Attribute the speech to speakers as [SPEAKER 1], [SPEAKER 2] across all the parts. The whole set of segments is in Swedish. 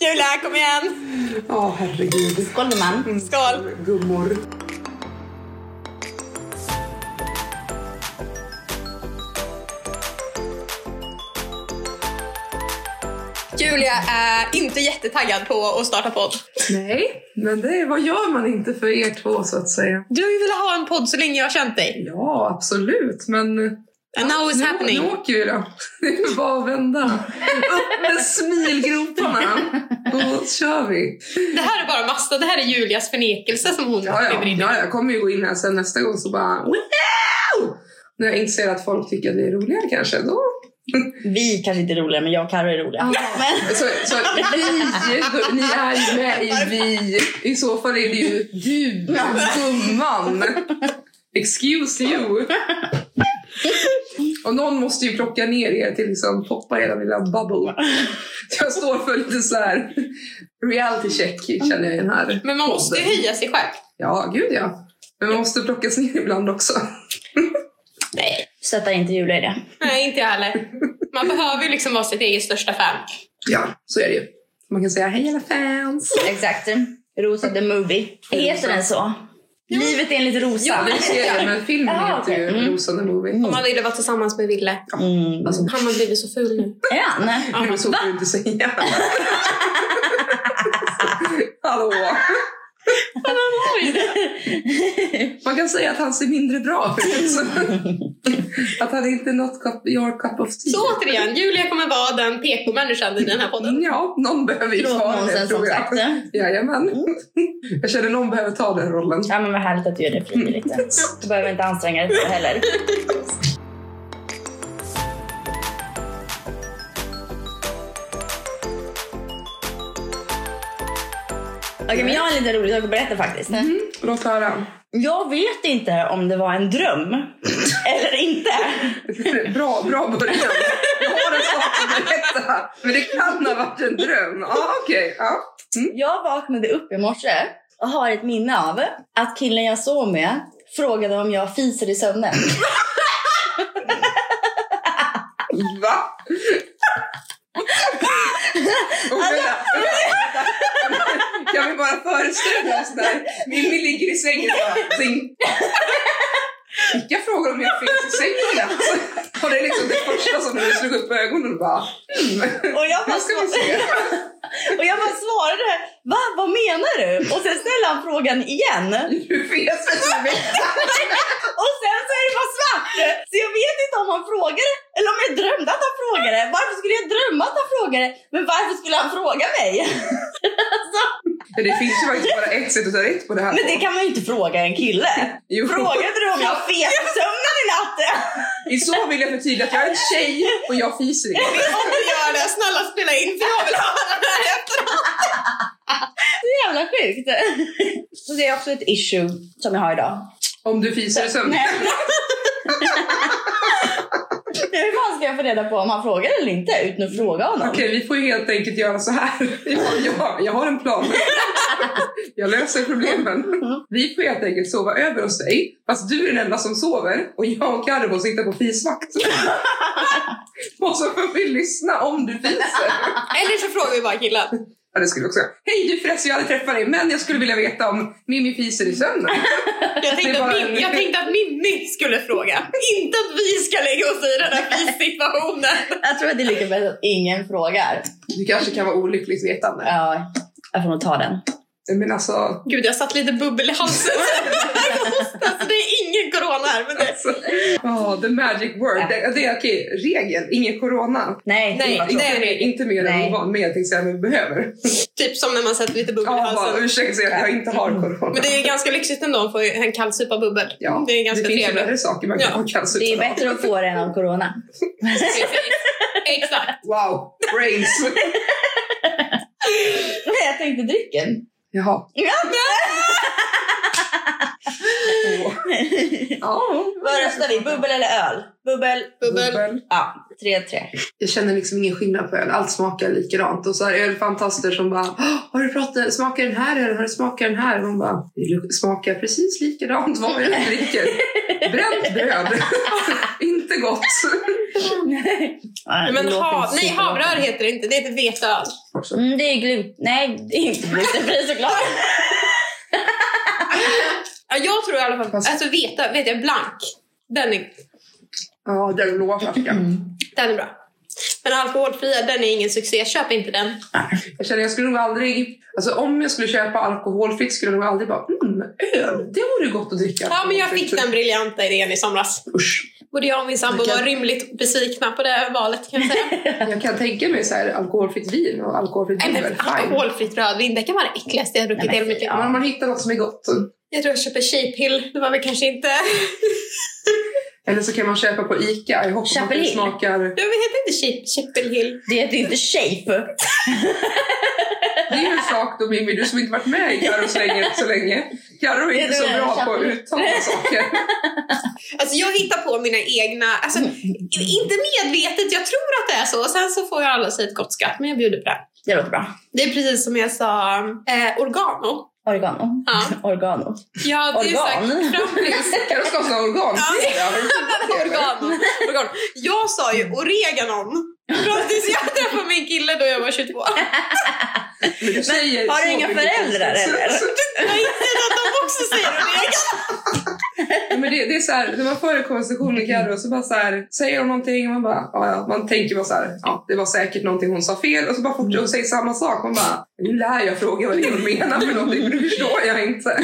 [SPEAKER 1] Julia, kom igen!
[SPEAKER 2] Ja, herregud.
[SPEAKER 1] Skål gumman. Skål!
[SPEAKER 2] Gummor.
[SPEAKER 1] Julia är inte jättetaggad på att starta podd.
[SPEAKER 2] Nej, men det, vad gör man inte för er två så att säga?
[SPEAKER 1] Du har ju velat ha en podd så länge jag har känt dig.
[SPEAKER 2] Ja, absolut, men...
[SPEAKER 1] And now it's
[SPEAKER 2] nu,
[SPEAKER 1] happening.
[SPEAKER 2] Nu åker vi då. Det är bara att vända. Upp med smilgroparna. Då kör vi.
[SPEAKER 1] Det här är bara Masta, det här är Julias förnekelse som hon
[SPEAKER 2] Ja, ja.
[SPEAKER 1] lever in i.
[SPEAKER 2] ja, jag kommer ju gå in här sen nästa gång så bara... Wow! När jag inser att folk tycker att vi är roligare kanske, då...
[SPEAKER 3] Vi kanske inte är roliga, men jag och Carro är roliga. Men,
[SPEAKER 2] Så, så vi, då, ni är ju med i vi. I så fall är det ju du, gumman. Excuse you. Och någon måste ju plocka ner er till liksom poppa era lilla bubble. Så jag står för lite så här reality check känner jag i den här
[SPEAKER 1] Men man måste ju
[SPEAKER 2] podden.
[SPEAKER 1] höja sig själv.
[SPEAKER 2] Ja, gud ja. Men man måste plockas ner ibland också.
[SPEAKER 1] Nej.
[SPEAKER 3] sätta inte Julia i det.
[SPEAKER 1] Nej, inte jag heller. Man behöver ju liksom vara sitt eget största fan.
[SPEAKER 2] Ja, så är det ju. Man kan säga hej alla fans.
[SPEAKER 3] Exakt. Rosa the movie. Heter den så? Livet enligt Rosa.
[SPEAKER 2] Ja, serien, men filmen
[SPEAKER 3] Ja,
[SPEAKER 2] heter ju
[SPEAKER 3] okej. Mm.
[SPEAKER 2] Rosande Movie.
[SPEAKER 1] Om man ville vara tillsammans med Ville.
[SPEAKER 3] Mm.
[SPEAKER 2] Alltså,
[SPEAKER 1] Han har blivit så ful nu.
[SPEAKER 3] Ja, nej.
[SPEAKER 1] Ja,
[SPEAKER 2] Nu så får du inte säga. Hallå! Man kan säga att han ser mindre bra ut. Så- Att han inte är not cup, your cup of tea.
[SPEAKER 1] Så återigen, Julia kommer vara den PK-människan i den här podden.
[SPEAKER 2] Ja, någon behöver ju
[SPEAKER 3] Förlåt
[SPEAKER 2] ta
[SPEAKER 3] nonsens
[SPEAKER 2] det
[SPEAKER 3] som
[SPEAKER 2] tror
[SPEAKER 3] sagt.
[SPEAKER 2] jag. Jajamän. Jag känner någon behöver ta den rollen.
[SPEAKER 3] Ja, men vad härligt att du gör det frivilligt. Du behöver inte anstränga dig för det heller. Okej, men jag har en liten rolig sak att berätta faktiskt.
[SPEAKER 2] Låt höra.
[SPEAKER 3] Jag vet inte om det var en dröm eller inte.
[SPEAKER 2] Bra, bra början. Jag har en sak att berätta. Men det kan ha varit en dröm. Ja, okej. Ja.
[SPEAKER 3] Jag vaknade upp i morse och har ett minne av att killen jag sov med frågade om jag fiser i sömnen.
[SPEAKER 2] Va? Och vänta,
[SPEAKER 3] Alltså,
[SPEAKER 2] vänta. Kan vi bara föreställa oss där? Mimmi ligger i sängen och bara zing. Vilka frågor om jag finns i sängen? Alltså, Och det är liksom det första som du slog upp ögonen och bara hmm,
[SPEAKER 3] Och jag
[SPEAKER 2] nu
[SPEAKER 3] bara,
[SPEAKER 2] ska vi se.
[SPEAKER 3] och jag bara svarade, Va, vad menar du? Och sen ställde han frågan igen.
[SPEAKER 2] Du vet väl som vet.
[SPEAKER 3] Och sen så är det bara svart. Så jag vet inte om han frågade eller om jag drömde att han frågade. Varför skulle jag drömma att han frågade? Men varför skulle han fråga mig?
[SPEAKER 2] Men det finns ju faktiskt bara ett sätt att ta rätt på det här.
[SPEAKER 3] Men det kan man ju inte fråga en kille.
[SPEAKER 2] Jo.
[SPEAKER 3] Frågade du om jag fet i sömnen i natt?
[SPEAKER 2] I så vill jag förtydliga att jag är en tjej och jag fiser inte.
[SPEAKER 1] Om du gör det, snälla spela in för jag vill höra det här efteråt.
[SPEAKER 3] Så jävla sjukt. Så det är också ett issue som jag har idag.
[SPEAKER 2] Om du fiser i sömnen.
[SPEAKER 3] Nej. Hur fan ska jag få reda på om han frågade eller inte utan att fråga honom?
[SPEAKER 2] Okej, vi får ju helt enkelt göra så här. Jag, jag, jag har en plan. Jag löser problemen. Vi får helt enkelt sova över hos dig. Fast du är den enda som sover och jag och Karro får sitta på fisvakt. Och så får vi lyssna om du fiser.
[SPEAKER 1] Eller så frågar vi bara killen.
[SPEAKER 2] Ja, det skulle jag också göra. Hej du förresten, jag hade träffat dig men jag skulle vilja veta om Mimmi fiser i sömnen.
[SPEAKER 1] Jag
[SPEAKER 2] Det
[SPEAKER 1] tänkte,
[SPEAKER 2] är
[SPEAKER 1] att
[SPEAKER 2] bara-
[SPEAKER 1] Mim, jag tänkte att Mimmi skulle fråga. Inte att vi ska lägga oss i den här fissituationen.
[SPEAKER 3] Jag tror att det är lika bäst att ingen frågar.
[SPEAKER 2] Du kanske kan vara olyckligt vetande.
[SPEAKER 3] Ja, jag får nog ta den.
[SPEAKER 2] Men alltså,
[SPEAKER 1] Gud, jag satt lite bubbel i halsen. alltså, det är ingen corona här. Men det...
[SPEAKER 2] alltså ja, the magic word. Det, det är okej, regel, ingen corona.
[SPEAKER 3] Nej,
[SPEAKER 1] Nej,
[SPEAKER 3] det var
[SPEAKER 1] nej.
[SPEAKER 3] tråkigt.
[SPEAKER 2] Inte mer, inte mer
[SPEAKER 3] Nej.
[SPEAKER 2] än vad mer tänkte jag säga, men vi behöver.
[SPEAKER 1] Typ som när man sätter lite bubbel i
[SPEAKER 2] Ja, bara,
[SPEAKER 1] halsen.
[SPEAKER 2] ursäkta säga att jag inte har corona.
[SPEAKER 1] alltså, Men det är ganska lyxigt ändå att få en kallsupa bubbel.
[SPEAKER 2] ja,
[SPEAKER 1] det är ganska
[SPEAKER 2] finns ju
[SPEAKER 1] trevligt.
[SPEAKER 2] värre saker man kan
[SPEAKER 1] Ja.
[SPEAKER 2] ha cancer
[SPEAKER 3] Det är
[SPEAKER 2] utav.
[SPEAKER 3] bättre att få det än av corona.
[SPEAKER 1] Precis. Exakt.
[SPEAKER 2] Wow, brains!
[SPEAKER 3] Nej, jag tänkte drycken.
[SPEAKER 2] Jaha.
[SPEAKER 3] Ja.
[SPEAKER 2] Åh. Ja,
[SPEAKER 3] Vad röstar vi? Bubbel eller öl? Bubbel.
[SPEAKER 1] Bubbel.
[SPEAKER 3] Ja, 3-3.
[SPEAKER 2] Jag känner liksom ingen skillnad på öl. Allt smakar likadant. Och så här ölfantaster som bara "Åh, Har du pratat, smakar den här eller har du smakat den här? Och man bara "Det luk- smakar precis likadant vad jag än dricker. Bränt bröd. inte inte gott.
[SPEAKER 3] Nej.
[SPEAKER 1] Nej, Men hav, nej, havrör heter det inte, det heter veteöl.
[SPEAKER 3] Mm, det är gluten... Nej, det är inte glutenfri såklart.
[SPEAKER 1] Ja, jag tror i alla fall,
[SPEAKER 2] Fast-
[SPEAKER 1] alltså veta, vet jag, blank. Den är,
[SPEAKER 2] Ja, den blåa flaskan.
[SPEAKER 1] den är bra. Men alkoholfria, den är ingen succé, köp inte den.
[SPEAKER 2] Jag känner jag skulle nog aldrig, alltså om jag skulle köpa alkoholfritt skulle jag nog aldrig bara, mm, öl, det vore gott att dricka.
[SPEAKER 1] Ja, men jag fick den briljanta idén i samlas.
[SPEAKER 2] Usch.
[SPEAKER 1] Både jag och min sambo
[SPEAKER 3] Vilken-
[SPEAKER 1] var rymligt besvikna på det valet kan jag säga.
[SPEAKER 2] Jag kan tänka mig så här, alkoholfritt vin och alkoholfritt
[SPEAKER 1] Nej,
[SPEAKER 2] vin är
[SPEAKER 1] men
[SPEAKER 2] fine.
[SPEAKER 1] alkoholfritt rödvin, det kan vara det äckligaste jag har druckit
[SPEAKER 3] Nej, men
[SPEAKER 1] hela mitt liv.
[SPEAKER 2] Men om man hittar något som är gott.
[SPEAKER 1] Jag tror jag köper shapehill, det var väl kanske inte...
[SPEAKER 2] Eller så kan man köpa på Ica. Jag hoppas att det
[SPEAKER 3] Chapelin.
[SPEAKER 2] smakar...
[SPEAKER 1] Jag heter inte shape, shapehill.
[SPEAKER 3] Det heter ju inte shape.
[SPEAKER 2] Det är ju en sak då Mimmi, du som inte varit med i Carros länge, så länge. Carro är
[SPEAKER 3] Det är
[SPEAKER 2] inte så
[SPEAKER 3] det där,
[SPEAKER 2] bra på att
[SPEAKER 3] Chapelin.
[SPEAKER 2] uttala saker.
[SPEAKER 1] Alltså jag hittar på mina egna, alltså inte medvetet, jag tror att det är så. Och sen så får jag alla säga ett gott skratt, men jag bjuder på det.
[SPEAKER 3] Det låter bra.
[SPEAKER 1] Det är precis som jag sa, eh, organo.
[SPEAKER 3] Organo.
[SPEAKER 1] Ja.
[SPEAKER 3] Organo.
[SPEAKER 1] Ja, det är
[SPEAKER 3] Organ.
[SPEAKER 1] sagt fram tills...
[SPEAKER 2] Carro ska ha såna organ.
[SPEAKER 1] Organo. Organo. Jag sa ju oreganon. Fram tills jag träffade min kille då jag var 22.
[SPEAKER 2] Men du säger
[SPEAKER 3] har du
[SPEAKER 2] så
[SPEAKER 3] inga
[SPEAKER 2] mycket
[SPEAKER 3] föräldrar,
[SPEAKER 2] konstigt.
[SPEAKER 3] eller?
[SPEAKER 2] Så-
[SPEAKER 1] Jag har insett att de också säger oregano.
[SPEAKER 2] Nej, men det, det är så här, när man för en konversation med Carro så bara så här, säger hon någonting och man bara, ja, ja. Man tänker bara så här, ja, det var säkert någonting hon sa fel och så bara fortsätter hon säga samma sak. Man bara, nu lär jag fråga vad det är hon menar för någonting för det förstår jag inte.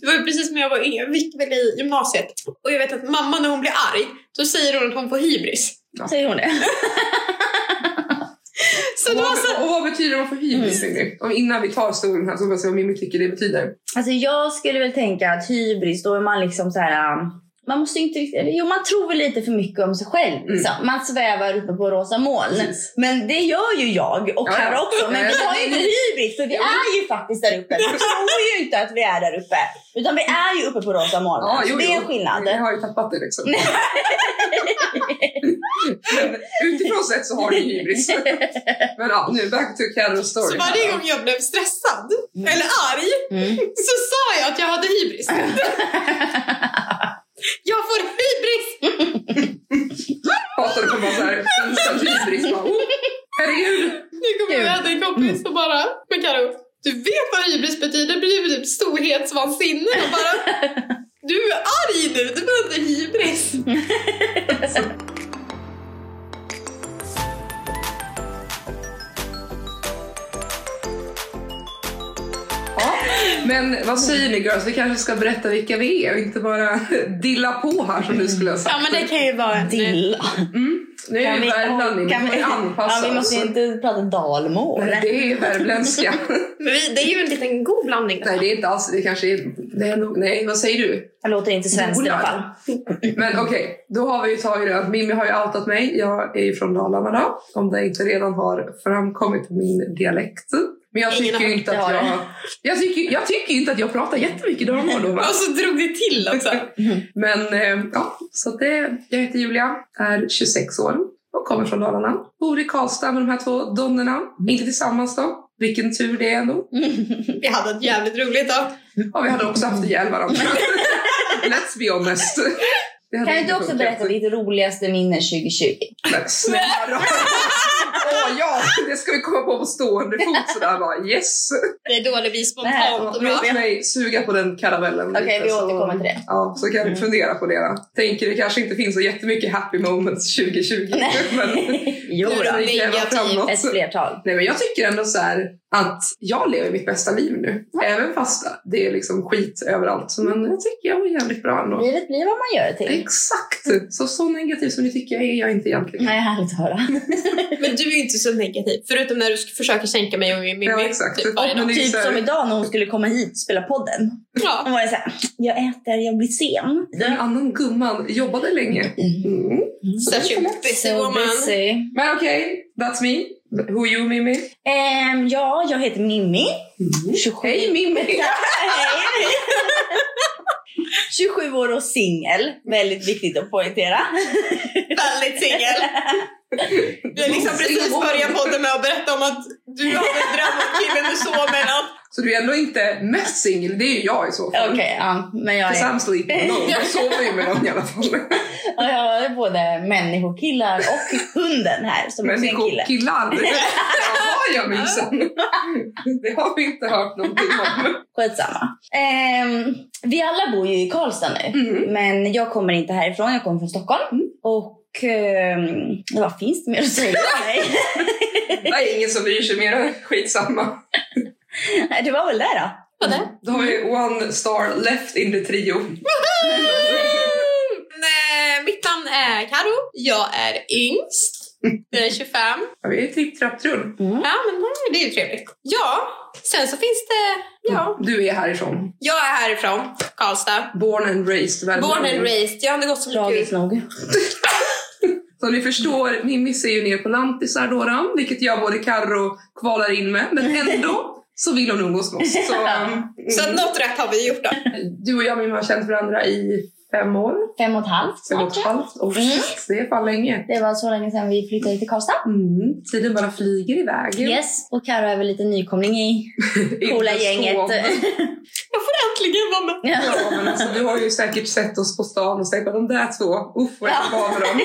[SPEAKER 1] Det var ju precis när jag var yngre, jag gick väl i gymnasiet. Och jag vet att mamma när hon blir arg, då säger hon att hon får hybris.
[SPEAKER 3] Säger hon det?
[SPEAKER 1] Så då
[SPEAKER 2] och,
[SPEAKER 1] så...
[SPEAKER 2] vad, och vad betyder det för hybris Mimmi? Och Innan vi tar storyn här så får jag se vad Mimmi tycker det betyder.
[SPEAKER 3] Alltså jag skulle väl tänka att hybris, då är man liksom så här... um, Man måste ju inte riktigt... eller Jo, man tror väl lite för mycket om sig själv.
[SPEAKER 2] Mm.
[SPEAKER 3] Liksom. Man svävar uppe på rosa moln.
[SPEAKER 2] Precis.
[SPEAKER 3] Men det gör ju jag och
[SPEAKER 2] Ja, ja.
[SPEAKER 3] här också. Men
[SPEAKER 2] Ja,
[SPEAKER 3] vi
[SPEAKER 2] ja.
[SPEAKER 3] har ju inte hybris för vi är ju faktiskt där uppe. Vi tror ju inte att vi är där uppe. Utan vi är ju uppe på rosa moln.
[SPEAKER 2] Ja,
[SPEAKER 3] Så
[SPEAKER 2] jo,
[SPEAKER 3] det är
[SPEAKER 2] jo.
[SPEAKER 3] en skillnad.
[SPEAKER 2] Jag har ju tappat det liksom. Men utifrån sett så har du hybris. Men ja, nu back to Carros story.
[SPEAKER 1] Så varje gång jag blev stressad
[SPEAKER 3] Mm.
[SPEAKER 1] eller arg
[SPEAKER 3] Mm.
[SPEAKER 1] så sa jag att jag hade hybris. Jag får hybris!
[SPEAKER 2] Hatar det för bara såhär, hybris. Bara, oh, herregud.
[SPEAKER 1] Nu kommer jag hade en kompis som bara, men Karo, du vet vad hybris betyder? Det betyder typ storhetsvansinne. Jag bara, du är arg nu, du behöver inte hybris.
[SPEAKER 2] Ja, men vad säger ni girls? Vi kanske ska berätta vilka vi är och inte bara dilla på här som du skulle ha sagt.
[SPEAKER 1] men det kan ju vara
[SPEAKER 3] Dilla.
[SPEAKER 2] Mm. Nu är vi i Värmland, vi
[SPEAKER 3] kan
[SPEAKER 2] får
[SPEAKER 3] vi-
[SPEAKER 2] ju
[SPEAKER 3] ja,
[SPEAKER 2] anpassa
[SPEAKER 3] vi måste
[SPEAKER 2] oss.
[SPEAKER 3] ju inte prata dalmål.
[SPEAKER 2] Nej, det är värmländska.
[SPEAKER 1] Men vi, det är ju en liten god blandning.
[SPEAKER 2] nej, det är inte alls, det kanske är, det är nog, nej vad säger du?
[SPEAKER 3] Jag låter inte svenskt i alla fall.
[SPEAKER 2] Men okej, då har vi ju tagit det att Mimmi har ju outat mig. Jag är ju från Dalarna då, om det inte redan har framkommit min dialekt. Men jag
[SPEAKER 1] Ingen
[SPEAKER 2] tycker
[SPEAKER 1] har
[SPEAKER 2] ju inte
[SPEAKER 3] hört
[SPEAKER 2] att
[SPEAKER 3] det, har
[SPEAKER 2] jag, jag, tycker, jag tycker ju inte att jag pratar jättemycket dalmål då va?
[SPEAKER 1] Och så drog det till också.
[SPEAKER 3] Mm.
[SPEAKER 2] Men eh, ja, så det, jag heter Julia, är 26 år och kommer från Dalarna. Bor i Karlstad med de här två donnorna.
[SPEAKER 3] Mm.
[SPEAKER 2] Inte tillsammans då. Vilken tur det är ändå.
[SPEAKER 1] Vi hade ett jävligt roligt då.
[SPEAKER 2] Ja, vi hade också haft ihjäl varandra. Let's be honest. Det hade
[SPEAKER 3] Kan
[SPEAKER 2] inte
[SPEAKER 3] inte du också
[SPEAKER 2] funkat.
[SPEAKER 3] berätta ditt roligaste minne 2020?
[SPEAKER 2] Men snälla! Åh ja, det ska vi komma på på stående fot sådär bara. Yes!
[SPEAKER 1] Det är då det blir spontant och bra.
[SPEAKER 2] Låt mig suga på den karamellen
[SPEAKER 3] Okej,
[SPEAKER 2] lite,
[SPEAKER 3] vi
[SPEAKER 2] så-
[SPEAKER 3] återkommer till det. Mm.
[SPEAKER 2] Ja, så kan vi fundera på det då. Tänker det kanske inte finns så jättemycket happy moments 2020. Men
[SPEAKER 3] Jo
[SPEAKER 2] Det är
[SPEAKER 3] då,
[SPEAKER 2] så jävla
[SPEAKER 1] Negativ.
[SPEAKER 2] framåt.
[SPEAKER 3] ett flertal.
[SPEAKER 2] Nej, men jag tycker ändå så här att jag lever mitt bästa liv nu. Även fast det är liksom skit överallt. Så men jag tycker jag är jävligt bra ändå.
[SPEAKER 3] Livet blir vad man gör det
[SPEAKER 2] Mm.
[SPEAKER 3] till.
[SPEAKER 2] Exakt! Så så negativ som ni tycker jag är jag inte egentligen.
[SPEAKER 3] Nej, härligt att höra.
[SPEAKER 1] Men du är ju inte så negativ. Förutom när du sk- försöker sänka mig och min min-
[SPEAKER 2] Ja,
[SPEAKER 1] min-
[SPEAKER 2] exakt.
[SPEAKER 1] Typ varje
[SPEAKER 2] Men
[SPEAKER 1] dag.
[SPEAKER 2] det är ju så
[SPEAKER 3] Typ
[SPEAKER 2] här-
[SPEAKER 3] som idag när hon skulle komma hit och spela podden.
[SPEAKER 1] Ja.
[SPEAKER 3] Hon var ju såhär, jag äter, jag blir sen.
[SPEAKER 2] En annan gumman jobbade länge. Mm.
[SPEAKER 1] Such a busy
[SPEAKER 3] So
[SPEAKER 1] woman.
[SPEAKER 3] busy.
[SPEAKER 2] Men okej, that's me. Who you Mimmi?
[SPEAKER 3] Ehm, ja, jag heter Mimmi. 27.
[SPEAKER 2] Hej Mimmi!
[SPEAKER 3] Ja, hej. 27 år och singel. Väldigt viktigt att poängtera.
[SPEAKER 1] Väldigt singel.
[SPEAKER 3] liksom
[SPEAKER 1] Du har liksom precis börjat podden med att berätta om att du hade en dröm om killen du sov mellan.
[SPEAKER 2] Så du är ändå inte mest singel, det är ju jag i så fall.
[SPEAKER 3] Okej, ja. Men jag
[SPEAKER 2] För
[SPEAKER 3] är...
[SPEAKER 2] Sam sleep alone. Jag sover ju med någon i alla fall.
[SPEAKER 3] Ja, jag har både människokillar och hunden här som också är en kille.
[SPEAKER 2] Människokillar! Jaha ja minsann. Det har vi inte hört någonting om.
[SPEAKER 3] Skitsamma. Ehm, vi alla bor ju i Karlstad nu.
[SPEAKER 2] Mm.
[SPEAKER 3] Men jag kommer inte härifrån, jag kommer från Stockholm. Och ehm, vad finns det mer att säga om mig?
[SPEAKER 2] Det är ingen som bryr sig mer, skitsamma.
[SPEAKER 3] Nej, det var väl det då.
[SPEAKER 1] Vad det?
[SPEAKER 2] Då har vi one star left in the trio.
[SPEAKER 1] Nej, mitt namn är Karo. Jag är yngst. Jag är 25.
[SPEAKER 2] Ja, vi är typ tripp trapp trull.
[SPEAKER 1] Ja, men mm, det är ju trevligt. Ja, sen så finns det... Ja.
[SPEAKER 2] Du är härifrån.
[SPEAKER 1] Jag är härifrån, Karlstad.
[SPEAKER 2] Born and raised.
[SPEAKER 1] Born
[SPEAKER 2] Värmland.
[SPEAKER 1] and raised. Jag hade gått så mycket
[SPEAKER 3] Tragiskt
[SPEAKER 1] ut.
[SPEAKER 3] nog.
[SPEAKER 2] Som ni förstår, Mimmi ser ju ner på lantisar då, då, vilket jag både Karro kvalar in med, men ändå så vill hon umgås med oss. Så, um,
[SPEAKER 1] Så att något rätt har vi gjort då.
[SPEAKER 2] Du och jag Mimmi har känt varandra i fem år,
[SPEAKER 3] Fem och ett halvt
[SPEAKER 2] fem och
[SPEAKER 3] snart.
[SPEAKER 2] ett halvt år.
[SPEAKER 3] Mm.
[SPEAKER 2] Det är fan länge.
[SPEAKER 3] Det var så länge sedan vi flyttade till Karlstad.
[SPEAKER 2] Mm. Tiden bara flyger iväg.
[SPEAKER 3] Yes, och Karo är väl lite nykomling i
[SPEAKER 2] Inte
[SPEAKER 3] coola
[SPEAKER 2] så-
[SPEAKER 3] gänget.
[SPEAKER 1] Jag får äntligen vara med.
[SPEAKER 3] Ja.
[SPEAKER 2] Ja, men alltså, du har ju säkert sett oss på stan och tänkt att de där två, uff vad jag är glad med dem.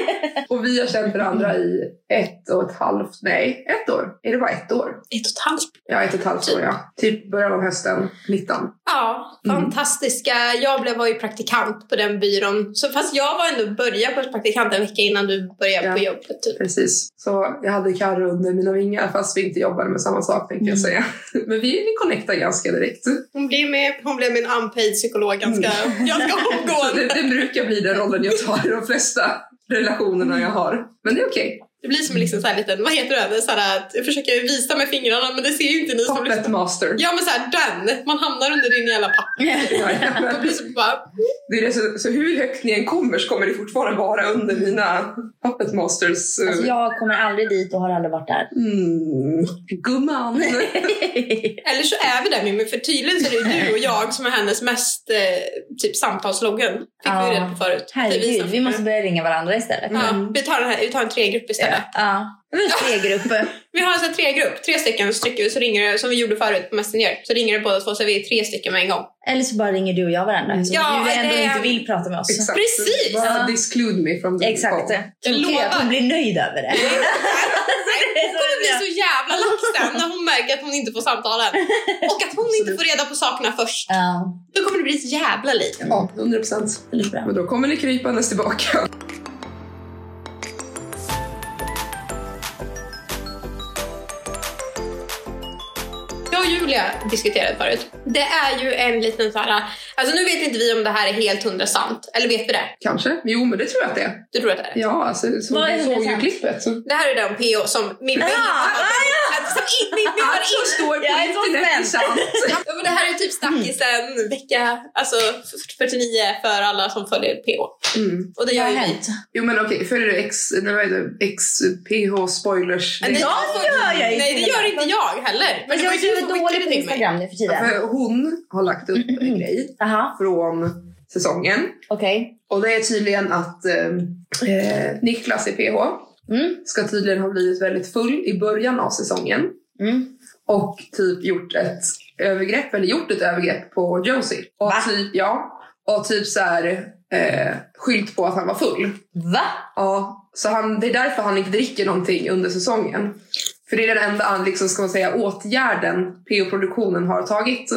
[SPEAKER 2] Och vi har känt varandra i ett och ett halvt, nej ett år. Är det bara ett år?
[SPEAKER 1] Ett och ett halvt.
[SPEAKER 2] Ja, ett och ett halvt år ja. Typ början av hösten, 19.
[SPEAKER 1] Ja,
[SPEAKER 2] Mm.
[SPEAKER 1] fantastiska. Jag blev, var ju praktikant på den byrån. Så, fast jag var ändå började på praktikant en vecka innan du började
[SPEAKER 2] Ja.
[SPEAKER 1] på jobbet. Typ.
[SPEAKER 2] Precis. Så jag hade Carro under mina vingar fast vi inte jobbade med samma sak tänkte jag
[SPEAKER 3] Mm.
[SPEAKER 2] säga. Men vi, vi connectade ganska direkt.
[SPEAKER 1] Hon, blev med, hon blev min unpaid psykolog ganska,
[SPEAKER 3] Mm.
[SPEAKER 1] ganska
[SPEAKER 2] Så det,
[SPEAKER 1] omgående.
[SPEAKER 2] det brukar bli den rollen jag tar i de flesta relationerna jag har. Men det är okej.
[SPEAKER 1] Det blir som en liksom så här liten, vad heter det? Så här att jag försöker visa med fingrarna men det ser ju inte ni som lyssnar.
[SPEAKER 2] Puppet master.
[SPEAKER 1] Ja men så här den, man hamnar under din jävla pappa.
[SPEAKER 2] Jajamän.
[SPEAKER 1] Det blir så bara,
[SPEAKER 2] Det är det, så, så hur högt ni än kommer så kommer det fortfarande vara under mina puppet masters. eh,
[SPEAKER 3] Mm. Alltså jag kommer aldrig dit och har aldrig varit där.
[SPEAKER 2] Mm, gumman!
[SPEAKER 1] eller så är vi där Mimmi, för tydligen så är det ju du och jag som är hennes mest eh, typ samtalslogan. Fick vi
[SPEAKER 3] Ja.
[SPEAKER 1] ju reda på förut. Det är vi
[SPEAKER 3] Herregud,
[SPEAKER 1] som-
[SPEAKER 3] vi måste börja ringa varandra istället.
[SPEAKER 1] Ja, vi tar, den här, vi tar en tregrupp istället.
[SPEAKER 3] Ja, vi är grupp.
[SPEAKER 1] Vi har alltså tre grupp, tre stycken så trycker vi så ringer det, som vi gjorde förut på Messenger. Så ringer det båda två så vi är tre stycken med en gång.
[SPEAKER 3] Eller så bara ringer du och jag varandra. Så
[SPEAKER 1] Ja,
[SPEAKER 3] du ändå
[SPEAKER 1] det-
[SPEAKER 3] inte vill prata med oss.
[SPEAKER 2] Exakt.
[SPEAKER 1] Precis.
[SPEAKER 2] Bara
[SPEAKER 3] Ja.
[SPEAKER 2] disclude me from the
[SPEAKER 3] Exakt.
[SPEAKER 2] call.
[SPEAKER 3] Jag
[SPEAKER 1] lovar.
[SPEAKER 3] lovar. Att hon blir nöjd över det.
[SPEAKER 1] Hon kommer bli så jävla lack sen när hon märker att hon inte får samtalen. Och att hon inte
[SPEAKER 2] Absolut.
[SPEAKER 1] får reda på sakerna först.
[SPEAKER 3] Ja,
[SPEAKER 1] Då kommer det bli så jävla liv.
[SPEAKER 2] Ja, 100 procent.
[SPEAKER 3] det är bra.
[SPEAKER 2] Men då kommer ni krypandes tillbaka.
[SPEAKER 1] Jag och Julia diskuterade förut. Det är ju en liten så här... Alltså nu vet inte vi om det här är helt hundra sant. Eller vet vi det?
[SPEAKER 2] Kanske? Jo, men det tror jag att det är.
[SPEAKER 1] Du tror att det är det?
[SPEAKER 2] Ja, alltså, så
[SPEAKER 3] Vad är
[SPEAKER 2] du såg ju
[SPEAKER 3] 100%?
[SPEAKER 2] klippet. Så.
[SPEAKER 1] Det här är den PO som min
[SPEAKER 3] Ah,
[SPEAKER 1] vän inte hade. Alltså, Som in- min vän har inte
[SPEAKER 2] står
[SPEAKER 3] på Jag är så internet är spänd.
[SPEAKER 1] Ja, men det här är
[SPEAKER 3] Mm.
[SPEAKER 1] typ snackisen vecka alltså, f- 49 för alla som följer PH.
[SPEAKER 2] Mm.
[SPEAKER 1] Och det
[SPEAKER 3] Det
[SPEAKER 1] gör
[SPEAKER 3] har
[SPEAKER 1] ju vi.
[SPEAKER 3] hänt.
[SPEAKER 2] Jo men okej, följer du X, nej, vad är det? XPH spoilers?
[SPEAKER 1] Men
[SPEAKER 2] Det-
[SPEAKER 1] det
[SPEAKER 3] Jag gör jag ju
[SPEAKER 1] Nej, det
[SPEAKER 3] till och
[SPEAKER 1] gör
[SPEAKER 3] med.
[SPEAKER 1] inte jag heller. Men
[SPEAKER 3] Men
[SPEAKER 1] det var
[SPEAKER 3] Alltså, jag
[SPEAKER 1] ju
[SPEAKER 3] är
[SPEAKER 1] du
[SPEAKER 3] så
[SPEAKER 1] som skickade
[SPEAKER 3] dålig
[SPEAKER 1] det
[SPEAKER 3] på
[SPEAKER 1] till mig.
[SPEAKER 3] Instagram nu för tiden.
[SPEAKER 2] För hon har lagt upp en grej
[SPEAKER 3] Jaha,
[SPEAKER 2] från säsongen.
[SPEAKER 3] okej.
[SPEAKER 2] Och det är tydligen att eh, eh, Niklas i PH
[SPEAKER 3] Mm.
[SPEAKER 2] ska tydligen ha blivit väldigt full i början av säsongen.
[SPEAKER 3] Mm.
[SPEAKER 2] och typ gjort ett övergrepp, eller gjort ett övergrepp på Josie. Och
[SPEAKER 3] Va?
[SPEAKER 2] typ, ja. Och typ så här eh, skylt på att han var full.
[SPEAKER 3] Va?
[SPEAKER 2] Ja, så han, det är därför han inte dricker någonting under säsongen. För det är den enda liksom, ska man säga, åtgärden PO-produktionen har tagit.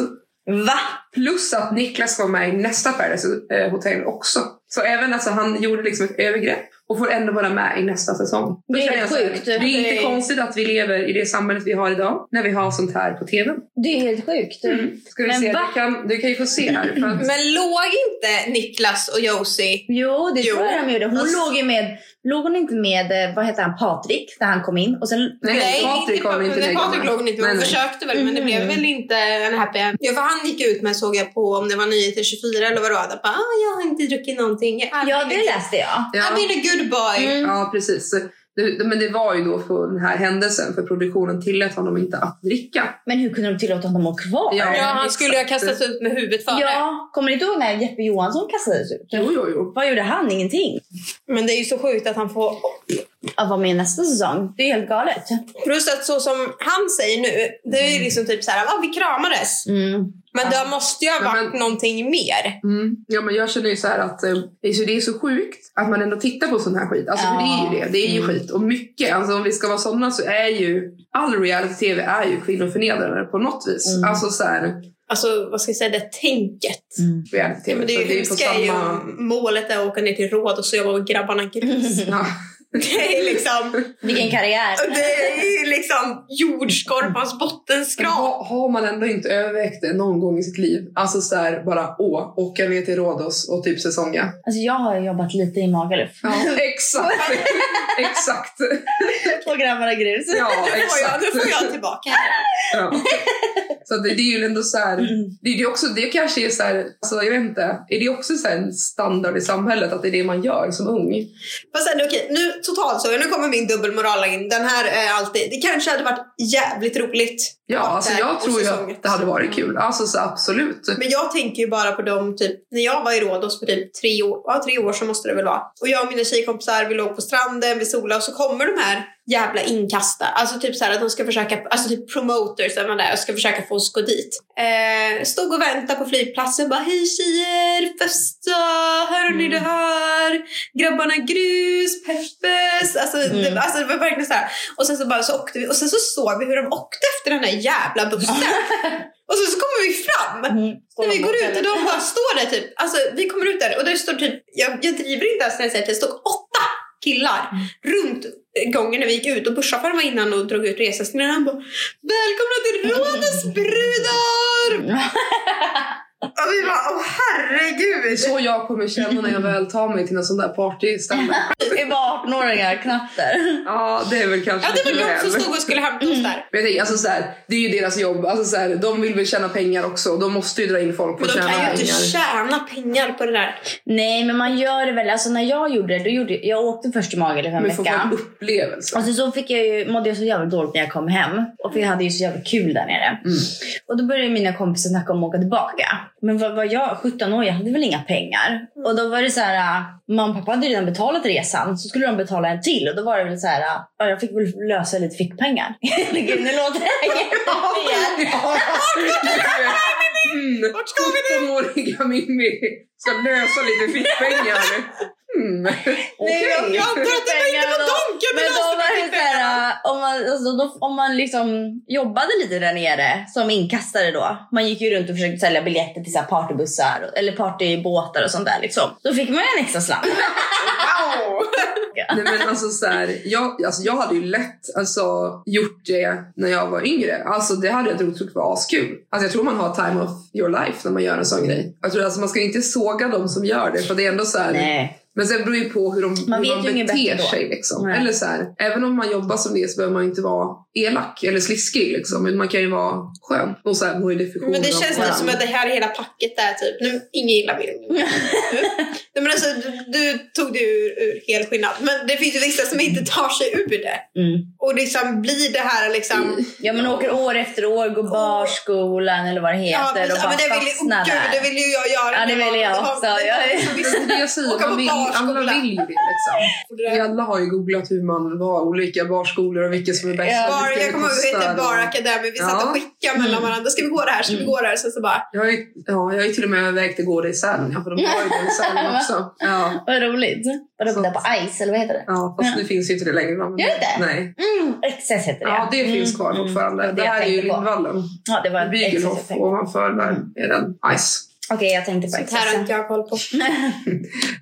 [SPEAKER 3] Va?
[SPEAKER 2] Plus att Niklas ska vara med i nästa Paradise eh, Hotel också. Så även alltså, han gjorde liksom ett övergrepp och får ändå vara med i nästa säsong. Då
[SPEAKER 3] Det är
[SPEAKER 2] känner jag så här,
[SPEAKER 3] sjukt.
[SPEAKER 2] Det är
[SPEAKER 1] Det
[SPEAKER 2] inte
[SPEAKER 1] är-
[SPEAKER 2] konstigt att vi lever i det samhället vi har idag när vi har sånt här på TV.
[SPEAKER 3] Det är helt sjukt.
[SPEAKER 2] Ska du,
[SPEAKER 3] Men
[SPEAKER 2] se?
[SPEAKER 3] va?
[SPEAKER 2] Du, kan, du kan ju få se här. För att,
[SPEAKER 1] Men låg inte Niklas och Josie?
[SPEAKER 3] Jo, det
[SPEAKER 1] Jo.
[SPEAKER 3] tror jag de gjorde. Hon
[SPEAKER 1] Alltså-
[SPEAKER 3] låg ju med, låg hon inte med, eh, vad heter han, Patrik, när han kom in? Och sen,
[SPEAKER 2] nej, Patrik
[SPEAKER 1] inte
[SPEAKER 2] kom inte
[SPEAKER 1] nej,
[SPEAKER 2] längre
[SPEAKER 1] Patrik
[SPEAKER 2] med.
[SPEAKER 1] låg inte. Hon
[SPEAKER 2] Nej, nej.
[SPEAKER 1] försökte väl, men det blev
[SPEAKER 3] Mhm.
[SPEAKER 1] väl inte en happy end. Ja, för han gick ut med, såg jag på, om det var Nyheter 24 eller vad det var, där bara, ah, jag har inte druckit någonting. Jag är
[SPEAKER 3] ja
[SPEAKER 1] aldrig-
[SPEAKER 3] det läste jag.
[SPEAKER 2] Ja,
[SPEAKER 1] I've been a good boy.
[SPEAKER 3] Mm.
[SPEAKER 2] ja, precis. Det, men det var ju då för den här händelsen, för produktionen tillät honom inte att dricka.
[SPEAKER 3] Men hur kunde de tillåta honom att vara kvar?
[SPEAKER 2] Ja.
[SPEAKER 1] Ja, han skulle ju ha kastats ut med huvudet före.
[SPEAKER 3] Ja, kommer ni inte ihåg när Jeppe Johansson kastades ut?
[SPEAKER 2] Jo, jo, jo.
[SPEAKER 3] Vad gjorde han? Ingenting.
[SPEAKER 1] Men det är ju så sjukt att han får
[SPEAKER 3] att vara med nästa säsong. Det är helt galet.
[SPEAKER 1] Plus att så som han säger nu, det är ju liksom typ så här, ah, vi kramades.
[SPEAKER 3] Mm.
[SPEAKER 1] Men det måste ju ha
[SPEAKER 2] Ja, men-
[SPEAKER 1] varit någonting mer.
[SPEAKER 2] Mm. Ja, men jag känner ju så här att eh, det är så- det är så sjukt att man ändå tittar på sån här skit. Alltså, för det är ju det. Det är ju
[SPEAKER 3] Mm.
[SPEAKER 2] skit. Och mycket, alltså om vi ska vara sådana så är ju all reality-tv är ju kvinnoförnedrande på något vis.
[SPEAKER 3] Mm.
[SPEAKER 2] Alltså så här,
[SPEAKER 1] Alltså vad ska jag säga, det tänket.
[SPEAKER 3] Mm.
[SPEAKER 1] Ja,
[SPEAKER 2] reality-tv.
[SPEAKER 1] men det
[SPEAKER 2] så
[SPEAKER 1] är ju hemska är ju målet är att åka ner till råd och så jobba med grabbarna gris.
[SPEAKER 2] Ja.
[SPEAKER 1] Det är liksom,
[SPEAKER 3] Vilken karriär.
[SPEAKER 1] det är ju liksom jordskorpans
[SPEAKER 2] Men
[SPEAKER 1] bottenskrap.
[SPEAKER 2] har, har man ändå inte övervägt det någon gång i sitt liv? Alltså så här, bara åh, åka ner till Rhodos och typ säsonga.
[SPEAKER 3] Alltså jag har ju jobbat lite i Magaluf.
[SPEAKER 2] Ja, exakt! exakt!
[SPEAKER 3] Och grabbarna grus.
[SPEAKER 2] Ja,
[SPEAKER 1] Nu får jag,
[SPEAKER 2] exakt.
[SPEAKER 1] nu får jag tillbaka här.
[SPEAKER 2] Ja. Så det, det är ju ändå så här, det, det, är också, det kanske är så här, alltså jag vet inte, är det också så här en standard i samhället att det är det man gör som ung?
[SPEAKER 1] Fast ändå okej, nu totalt så, nu kommer min dubbelmoral in. Den här är alltid, det kanske hade varit jävligt roligt.
[SPEAKER 2] Ja, alltså jag
[SPEAKER 1] och
[SPEAKER 2] tror ju
[SPEAKER 1] säsongen.
[SPEAKER 2] att det hade varit kul. Alltså så absolut.
[SPEAKER 1] Men jag tänker ju bara på dem, typ, när jag var i Rhodos för typ tre år, ja, tre år så måste det väl vara. Och jag och mina tjejkompisar, vi låg på stranden, vi solade och så kommer de här jävla inkastare. Alltså typ så här att de ska försöka, alltså typ promoters eller vad det är, och ska försöka få oss gå dit. Eh, stod och väntade på flygplatsen, bara hej tjejer, festa, hör ni det här? Grabbarna grus, peppes. Alltså,
[SPEAKER 3] Mm.
[SPEAKER 1] det, alltså det var verkligen så här. Och sen så bara så åkte vi och sen så såg vi hur de åkte efter den här jävla bussen. och sen så kommer vi fram.
[SPEAKER 3] Mm.
[SPEAKER 1] När vi går ut och de bara står där typ. Alltså vi kommer ut där och där står typ, jag, jag driver inte ens när jag säger att det stod åtta killar runt eh, gången när vi gick ut och busschauffören var innan och drog ut resväskorna. Han bara “Välkomna till Rhodos brudar!” Och vi bara “Åh
[SPEAKER 2] Det är
[SPEAKER 1] herregud!”
[SPEAKER 2] så jag kommer
[SPEAKER 1] Mm.
[SPEAKER 2] känna när jag väl tar mig till en sån där partyställe.
[SPEAKER 3] Det är bara 18-åringar, knappt där.
[SPEAKER 2] Ja, det är väl kanske
[SPEAKER 1] Ja det var
[SPEAKER 2] lite
[SPEAKER 1] de som
[SPEAKER 2] väl.
[SPEAKER 1] stod och skulle hämta oss där.
[SPEAKER 2] Men jag tänker, alltså så här, det är ju deras jobb. Alltså så här, de vill väl tjäna pengar också. De måste ju dra in folk
[SPEAKER 1] Men
[SPEAKER 2] och
[SPEAKER 1] de
[SPEAKER 2] tjäna
[SPEAKER 1] kan ju
[SPEAKER 2] pengar.
[SPEAKER 1] inte tjäna pengar på det där.
[SPEAKER 3] Nej, men man gör det väl. Alltså när jag gjorde det, då gjorde jag, jag åkte först till Magaluf en
[SPEAKER 2] Men får få
[SPEAKER 3] vecka.
[SPEAKER 2] en upplevelse.
[SPEAKER 3] Och sen så fick jag ju, mådde jag så jävla dåligt när jag kom hem. Och för jag hade ju så jävla kul där nere. Och då började mina kompisar snacka om att åka tillbaka. Men vad var jag? 17 år, jag hade väl inga pengar. Och då var det så här, äh, mamma och pappa hade redan betalat resan. Så skulle de betala en till. Och då var det väl så här, äh, ja, jag fick väl lösa lite fickpengar. Eller Gud, nu låter det jättefel.
[SPEAKER 2] Mm.
[SPEAKER 1] Vart ska vi?
[SPEAKER 2] 17-åriga Mimmi ska lösa lite fickpengar. Mm. Okej.
[SPEAKER 3] jag-
[SPEAKER 1] Jag antar att det var inte på Donken
[SPEAKER 3] Men
[SPEAKER 1] vi
[SPEAKER 3] då
[SPEAKER 1] löste
[SPEAKER 3] var
[SPEAKER 1] det typ
[SPEAKER 3] det så här, äh, om man, alltså, då, om man liksom jobbade lite där nere som inkastare då. Man gick ju runt och försökte sälja biljetter till så här partybussar och- eller partybåtar och sånt där liksom. Då fick man ju en extra slant.
[SPEAKER 1] Wow!
[SPEAKER 2] Nej, men alltså, så här, jag, alltså, jag hade ju lätt alltså, gjort det när jag var yngre. Alltså, det hade jag trott var askul. Alltså, jag tror man har time of your life när man gör en sån grej. Jag tror, alltså, man ska inte såga de som gör det. För det är ändå så här,
[SPEAKER 3] Nej.
[SPEAKER 2] Men sen beror ju på hur de,
[SPEAKER 3] Man
[SPEAKER 2] hur
[SPEAKER 3] vet ju
[SPEAKER 2] de
[SPEAKER 3] inget
[SPEAKER 2] beter
[SPEAKER 3] bättre då.
[SPEAKER 2] sig. Liksom.
[SPEAKER 3] Nej.
[SPEAKER 2] Eller så här, även om man jobbar som det så behöver man inte vara elak eller sliskig. Liksom. Men man kan ju vara skön. Och så här, vad är definitionen
[SPEAKER 1] Men det
[SPEAKER 2] av
[SPEAKER 1] känns
[SPEAKER 2] skön?
[SPEAKER 1] lite som att det här hela packet är typ, nu, ingen gillar mig. Nej, men alltså, du, du tog det ur, ur helskinnad. Men det finns ju vissa som inte tar sig ur det.
[SPEAKER 3] Mm.
[SPEAKER 1] Och liksom blir det här liksom...
[SPEAKER 3] Ja men åker år efter år, går barskolan eller vad det
[SPEAKER 1] Ja,
[SPEAKER 3] heter
[SPEAKER 1] precis. Ja,
[SPEAKER 3] och bara
[SPEAKER 1] men det vill,
[SPEAKER 3] fastnar
[SPEAKER 1] oh, gud, det
[SPEAKER 3] där.
[SPEAKER 1] vill ju jag göra.
[SPEAKER 3] Ja, det
[SPEAKER 1] var-
[SPEAKER 3] vill jag
[SPEAKER 1] var-
[SPEAKER 3] också.
[SPEAKER 1] det var-
[SPEAKER 3] Jag-
[SPEAKER 1] så
[SPEAKER 2] Det är
[SPEAKER 1] visst-
[SPEAKER 2] det jag säger,
[SPEAKER 1] Åka på
[SPEAKER 2] man vill, alla
[SPEAKER 1] barskola.
[SPEAKER 2] vill ju det. Liksom. Vi alla har ju googlat hur man var olika barskolor och vilka som är bäst.
[SPEAKER 3] Ja,
[SPEAKER 2] och
[SPEAKER 1] Bar,
[SPEAKER 2] vilka
[SPEAKER 1] jag kommer ihåg, vi
[SPEAKER 2] kostar
[SPEAKER 1] hette Bar
[SPEAKER 2] och-
[SPEAKER 1] Academy. Vi satt
[SPEAKER 2] Ja.
[SPEAKER 1] och skickade mellan
[SPEAKER 3] Mm.
[SPEAKER 1] varandra. Ska vi gå där? Ska vi gå där? Sen så bara...
[SPEAKER 2] Jag har ju, ja, jag har ju till och med övervägt att gå det i Sälen. Ja, för de har ju det i Sälen också. Ja,
[SPEAKER 3] Vad roligt. Vadå
[SPEAKER 2] Så-
[SPEAKER 3] det där på Ice eller vad heter det?
[SPEAKER 2] ja, fast nu finns ju inte det längre. Men,
[SPEAKER 3] Gör det inte?
[SPEAKER 2] Nej.
[SPEAKER 3] Mm, XS heter det.
[SPEAKER 2] Ja, det finns kvar
[SPEAKER 3] Mm, mm.
[SPEAKER 2] fortfarande.
[SPEAKER 3] Det var
[SPEAKER 2] Det,
[SPEAKER 3] jag
[SPEAKER 2] här är ju
[SPEAKER 3] tänkte på.
[SPEAKER 2] Lindvallen.
[SPEAKER 3] Ja, det var XS jag
[SPEAKER 2] Bygelhof
[SPEAKER 3] tänkte på.
[SPEAKER 2] ovanför där är den. Nice.
[SPEAKER 3] Okej, jag tänkte på
[SPEAKER 1] Sånt
[SPEAKER 3] XS.
[SPEAKER 1] här har inte jag koll på.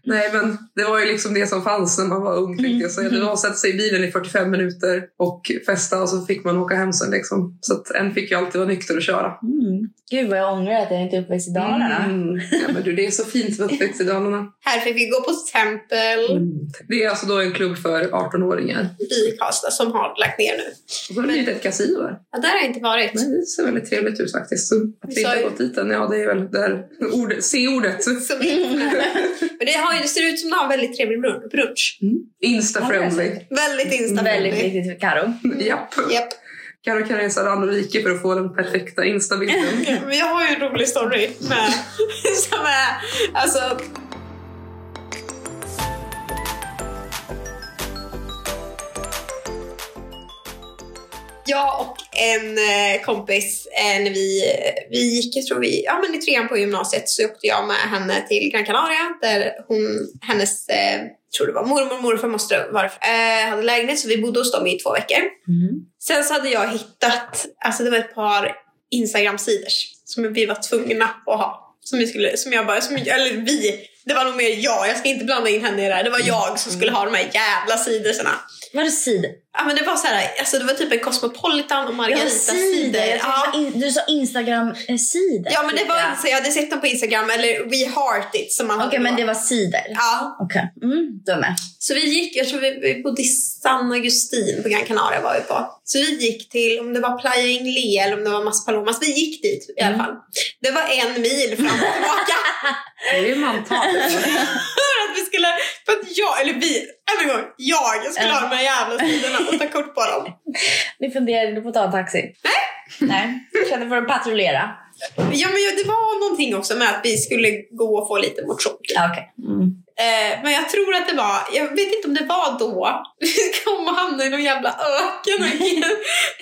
[SPEAKER 2] Nej men det var ju liksom det som fanns när man var ung tänkte jag säga. Det var att sätta sig i bilen i 45 minuter och festa och så fick man åka hem sen liksom. Så att en fick ju alltid vara nykter och köra.
[SPEAKER 3] Mm. Gud vad jag ångrar att jag inte är uppväxt i Dalarna.
[SPEAKER 2] Mm. Ja, men du, det är så fint med uppväxt i Dalarna.
[SPEAKER 1] Här fick vi gå på Tempel
[SPEAKER 3] Mm.
[SPEAKER 2] Det är alltså då en klubb för 18-åringar.
[SPEAKER 1] i Karlstad som har lagt ner nu.
[SPEAKER 2] Och så har det blivit ett kasino där.
[SPEAKER 1] Ja, där har jag inte varit.
[SPEAKER 2] Nej, det ser väldigt trevligt ut faktiskt. Så Att
[SPEAKER 1] Vi
[SPEAKER 2] vi
[SPEAKER 1] sa
[SPEAKER 2] inte har
[SPEAKER 1] ju-
[SPEAKER 2] gått dit än, ja det är väl där ordet, C-ordet.
[SPEAKER 1] Som Men det, har, ju- det ser ut som att ha en väldigt trevlig brun- brunch.
[SPEAKER 2] Insta-friendly.
[SPEAKER 1] Väldigt
[SPEAKER 3] Mm. Väldigt
[SPEAKER 1] instabil.
[SPEAKER 3] viktigt för Karo.
[SPEAKER 2] Japp.
[SPEAKER 1] Japp.
[SPEAKER 2] Karo Karesa Randerike för att få den perfekta instabilden.
[SPEAKER 1] Men jag har ju en rolig story med, som är, alltså Jag och en eh, kompis, eh, när vi, vi gick jag tror vi, ja, men i trean på gymnasiet så åkte jag med henne till Gran Canaria där hon, hennes eh, jag tror det var mormor och morfar måste vara, eh, hade lägenhet så vi bodde hos dem i två veckor.
[SPEAKER 3] Mm.
[SPEAKER 1] Sen så hade jag hittat, alltså det var ett par Instagram-sidor som vi var tvungna att ha. Som, vi skulle, som jag bara, som, eller vi, det var nog mer jag, jag ska inte blanda in henne i det här. Det var jag som skulle ha de här jävla sidorna.
[SPEAKER 3] Var det sidor?
[SPEAKER 1] Ja men det var så här, alltså det var typ en Cosmopolitan och
[SPEAKER 3] Ja,
[SPEAKER 1] Margarita-sidor.
[SPEAKER 3] sidor. Jag
[SPEAKER 1] Ja,
[SPEAKER 3] tror in, du sa eh, Instagram-sidor.
[SPEAKER 1] ja men det var inte så, jag hade sett dem på Instagram eller We Heart It som man
[SPEAKER 3] Okej,
[SPEAKER 1] hade
[SPEAKER 3] men
[SPEAKER 1] då.
[SPEAKER 3] det var sidor.
[SPEAKER 1] Ja,
[SPEAKER 3] Okej, mm, du är med.
[SPEAKER 1] Så vi gick, jag tror vi, vi bodde i San Agustin på Gran Canaria var vi på. Så vi gick till, om det var Playa Inglé eller om det var Maspalomas, vi gick dit i alla
[SPEAKER 3] Mm.
[SPEAKER 1] fall. Det var en mil fram och tillbaka
[SPEAKER 2] Det är mantal.
[SPEAKER 1] för att vi skulle, för att jag, eller vi, every gång, jag skulle ha de här jävla sidorna och ta kort på dem.
[SPEAKER 3] Ni funderade inte på att ta en taxi? Nej. Nej, jag kände för att patrullera.
[SPEAKER 1] Ja men det var någonting också med att vi skulle gå och få lite motion.
[SPEAKER 3] Ja, Okej. Mm.
[SPEAKER 1] Eh, men jag tror att det var, jag vet inte om det var då, vi kom och hamnade i någon jävla öken och gick in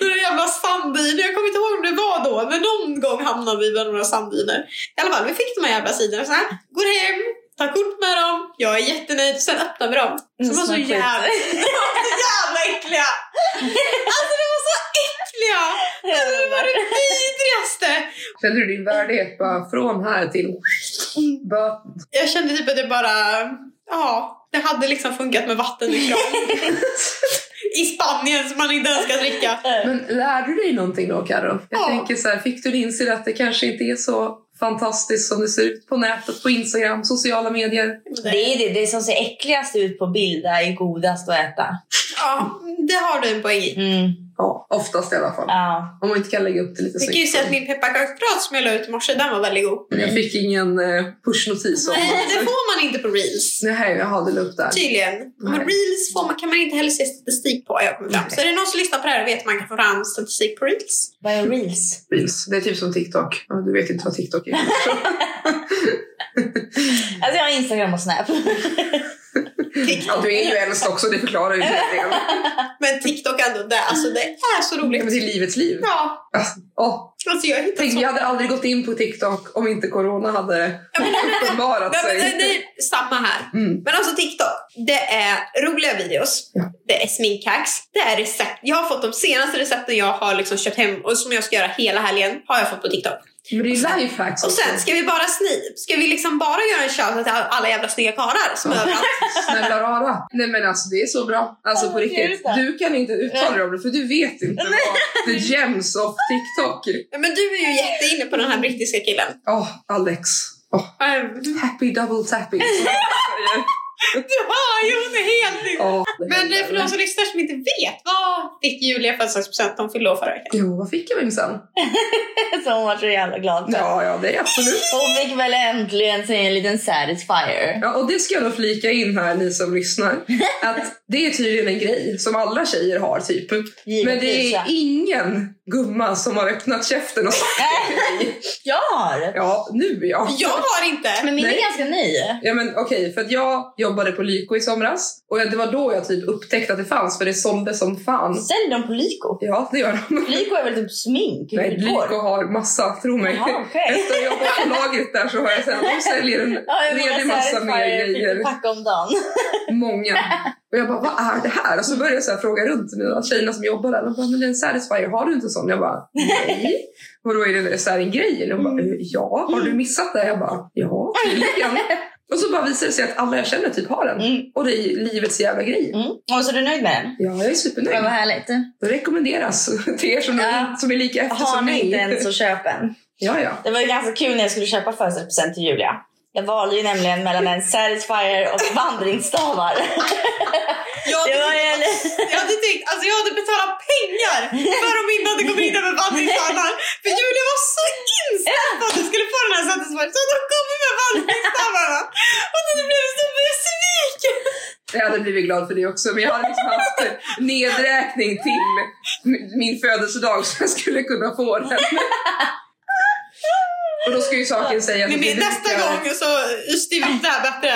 [SPEAKER 1] i någon jävla sanddyner. Jag kommer inte ihåg om det var då, men någon gång hamnade vi bland några sanddyner. I alla fall, vi fick de här jävla sidorna. Så här, går hem, tar kort med dem, jag är jättenöjd, sen öppnar vi dem. Så de var så
[SPEAKER 3] Mm,
[SPEAKER 1] jävla, de var så jävla äckliga! Alltså de var så äckliga! Alltså, det var det vidrigaste!
[SPEAKER 2] Kände du din värdighet bara från här till... Bara,
[SPEAKER 1] Jag kände typ att det bara, ja, det hade liksom funkat med vatten i kran. I Spanien som man inte ens ska dricka.
[SPEAKER 2] men lärde du dig någonting då, Karo? Jag
[SPEAKER 1] Ja.
[SPEAKER 2] tänker så här, fick du inse att det kanske inte är så fantastiskt som det ser ut på nätet, på Instagram, sociala medier?
[SPEAKER 3] Det är det, det som ser äckligast ut på bild är ju godast att äta.
[SPEAKER 1] Ja, det har du en poäng i.
[SPEAKER 3] Mm.
[SPEAKER 2] Ja, oftast i alla fall.
[SPEAKER 3] Ja.
[SPEAKER 2] Om man inte kan lägga upp det lite
[SPEAKER 1] Jag kan ju
[SPEAKER 2] snyggt.
[SPEAKER 1] säga att min pepparkaksprat som jag la ut i morse, den var väldigt god.
[SPEAKER 2] Men jag fick ingen eh, pushnotis om
[SPEAKER 1] Nej, Typ. det
[SPEAKER 2] det.
[SPEAKER 1] får man inte på reels.
[SPEAKER 2] Nej, jag hade upp där.
[SPEAKER 1] Tydligen. Men
[SPEAKER 2] Nej.
[SPEAKER 1] reels får man, kan man inte heller se statistik på. Jag kommer fram. Så är det någon som lyssnar på det här och vet att man kan få fram statistik på reels.
[SPEAKER 3] Vad är reels?
[SPEAKER 2] Reels. Det är typ som TikTok. Ja, Du vet inte vad TikTok är.
[SPEAKER 3] Alltså jag har Instagram och Snap.
[SPEAKER 2] Mm. Ja, du är ju äldst också, det förklarar ju grejen.
[SPEAKER 1] Men TikTok ändå, det, alltså, det är så
[SPEAKER 2] Ja, men Det
[SPEAKER 1] roligt.
[SPEAKER 2] är livets liv.
[SPEAKER 1] Ja,
[SPEAKER 2] Åh,
[SPEAKER 1] alltså jag har hittat
[SPEAKER 2] Tänk,
[SPEAKER 1] så
[SPEAKER 2] vi hade aldrig gått in på TikTok om inte corona hade uppenbarat
[SPEAKER 1] Nej, men det,
[SPEAKER 2] sig.
[SPEAKER 1] det är samma här.
[SPEAKER 2] Mm.
[SPEAKER 1] Men alltså TikTok, det är roliga videos,
[SPEAKER 2] Ja.
[SPEAKER 1] det är sminkhacks, det är recept. Jag har fått de senaste recepten jag har liksom köpt hem och som jag ska göra hela helgen har jag fått på TikTok.
[SPEAKER 2] Men det är ju lifehacks
[SPEAKER 1] Och
[SPEAKER 2] också.
[SPEAKER 1] sen ska vi bara sni, ska vi liksom bara göra en shoutout till alla jävla snygga karlar som är överallt.
[SPEAKER 2] Snälla rara. Nej men alltså det är så bra. Alltså på
[SPEAKER 3] Ja, det är
[SPEAKER 2] riktigt.
[SPEAKER 3] det.
[SPEAKER 2] Du kan inte uttala dig om det för du vet inte vad the gems of TikTok.
[SPEAKER 1] Ja, Men du är ju jätteinne på den här brittiska killen.
[SPEAKER 2] Åh, Alex. Åh,
[SPEAKER 1] Ehm,
[SPEAKER 2] happy double tapping.
[SPEAKER 1] Du hör ju, hon är helt inne.
[SPEAKER 2] Åh,
[SPEAKER 1] Men eh, för de som lyssnar som inte vet, vad fick Julia i födelsedagspresent? Hon fyllde år förra veckan.
[SPEAKER 2] Jo, vad fick jag minsann?
[SPEAKER 3] Så hon var så jävla glad för.
[SPEAKER 2] Ja, ja, det är absolut.
[SPEAKER 3] Hon fick väl äntligen sig en liten satisfier.
[SPEAKER 2] Ja, och det ska jag då flika in här, ni som lyssnar. Att det är tydligen en grej som alla tjejer har, typ. Men det
[SPEAKER 3] Givetvis,
[SPEAKER 2] är
[SPEAKER 3] ja.
[SPEAKER 2] ingen gumma som har öppnat käften och sagt nej.
[SPEAKER 3] Jag har!
[SPEAKER 2] Ja, nu ja.
[SPEAKER 1] Jag har inte!
[SPEAKER 3] Men min
[SPEAKER 2] Nej.
[SPEAKER 3] är ganska ny.
[SPEAKER 2] Ja men okej, för att jag jobbade på Lyko i somras och det var då jag typ upptäckte att det fanns för det sålde som fan.
[SPEAKER 3] Säljer de på Lyko?
[SPEAKER 2] Ja, det gör de.
[SPEAKER 3] Lyko är väl typ smink?
[SPEAKER 2] Nej,
[SPEAKER 3] hudvård?
[SPEAKER 2] Lyko har massa, tro mig.
[SPEAKER 3] Jaha, okej.
[SPEAKER 2] Efter jag jobbat på lagret där så har jag sett de säljer en
[SPEAKER 3] Ja, hur
[SPEAKER 2] redig
[SPEAKER 3] många
[SPEAKER 2] massa mer
[SPEAKER 3] satisfier fick
[SPEAKER 2] grejer.
[SPEAKER 3] du packa om dagen?
[SPEAKER 2] Många. Och jag bara, vad är det här? Och så började jag så här fråga runt mina tjejerna som jobbar där. De bara, men det är en Satisfyer, har du inte en sån? Jag bara, nej. Och då är det så här en grej. eller? De bara,
[SPEAKER 3] Mm.
[SPEAKER 2] eh, ja, har du missat det? Jag bara, ja, tydligen. Och så bara visar det sig att alla jag känner typ har den.
[SPEAKER 3] Mm.
[SPEAKER 2] Och det är livets jävla grej.
[SPEAKER 3] Mm. Och så är du nöjd med den?
[SPEAKER 2] Ja, jag är supernöjd.
[SPEAKER 3] Ja, vad härligt.
[SPEAKER 2] Det rekommenderas till er som,
[SPEAKER 3] Ja.
[SPEAKER 2] som är lika efter
[SPEAKER 3] Har
[SPEAKER 2] som
[SPEAKER 3] ni
[SPEAKER 2] mig.
[SPEAKER 3] inte en så köp en.
[SPEAKER 2] Ja, ja.
[SPEAKER 3] Det var ju ganska kul när jag skulle köpa födelsedagspresent till Julia. Jag valde ju nämligen mellan en satisfier och vandringsstavar.
[SPEAKER 1] Jag
[SPEAKER 3] Det var ju...
[SPEAKER 1] Jag hade tänkt, alltså jag hade betalat pengar för om vi inte hade kommit in med vandringsstövlar. För Julia var så inställd på att du skulle få den här satisfyer så de kom med vandringsstövlarna. Och då blev jag så besviken.
[SPEAKER 2] Jag hade blivit glad för det också, men jag hade liksom haft nedräkning till min- min födelsedag så jag skulle kunna få den. Och då ska ju saken sägas
[SPEAKER 1] Men
[SPEAKER 2] att det
[SPEAKER 1] nästa
[SPEAKER 2] brukar-
[SPEAKER 1] gång så stiltar bättre.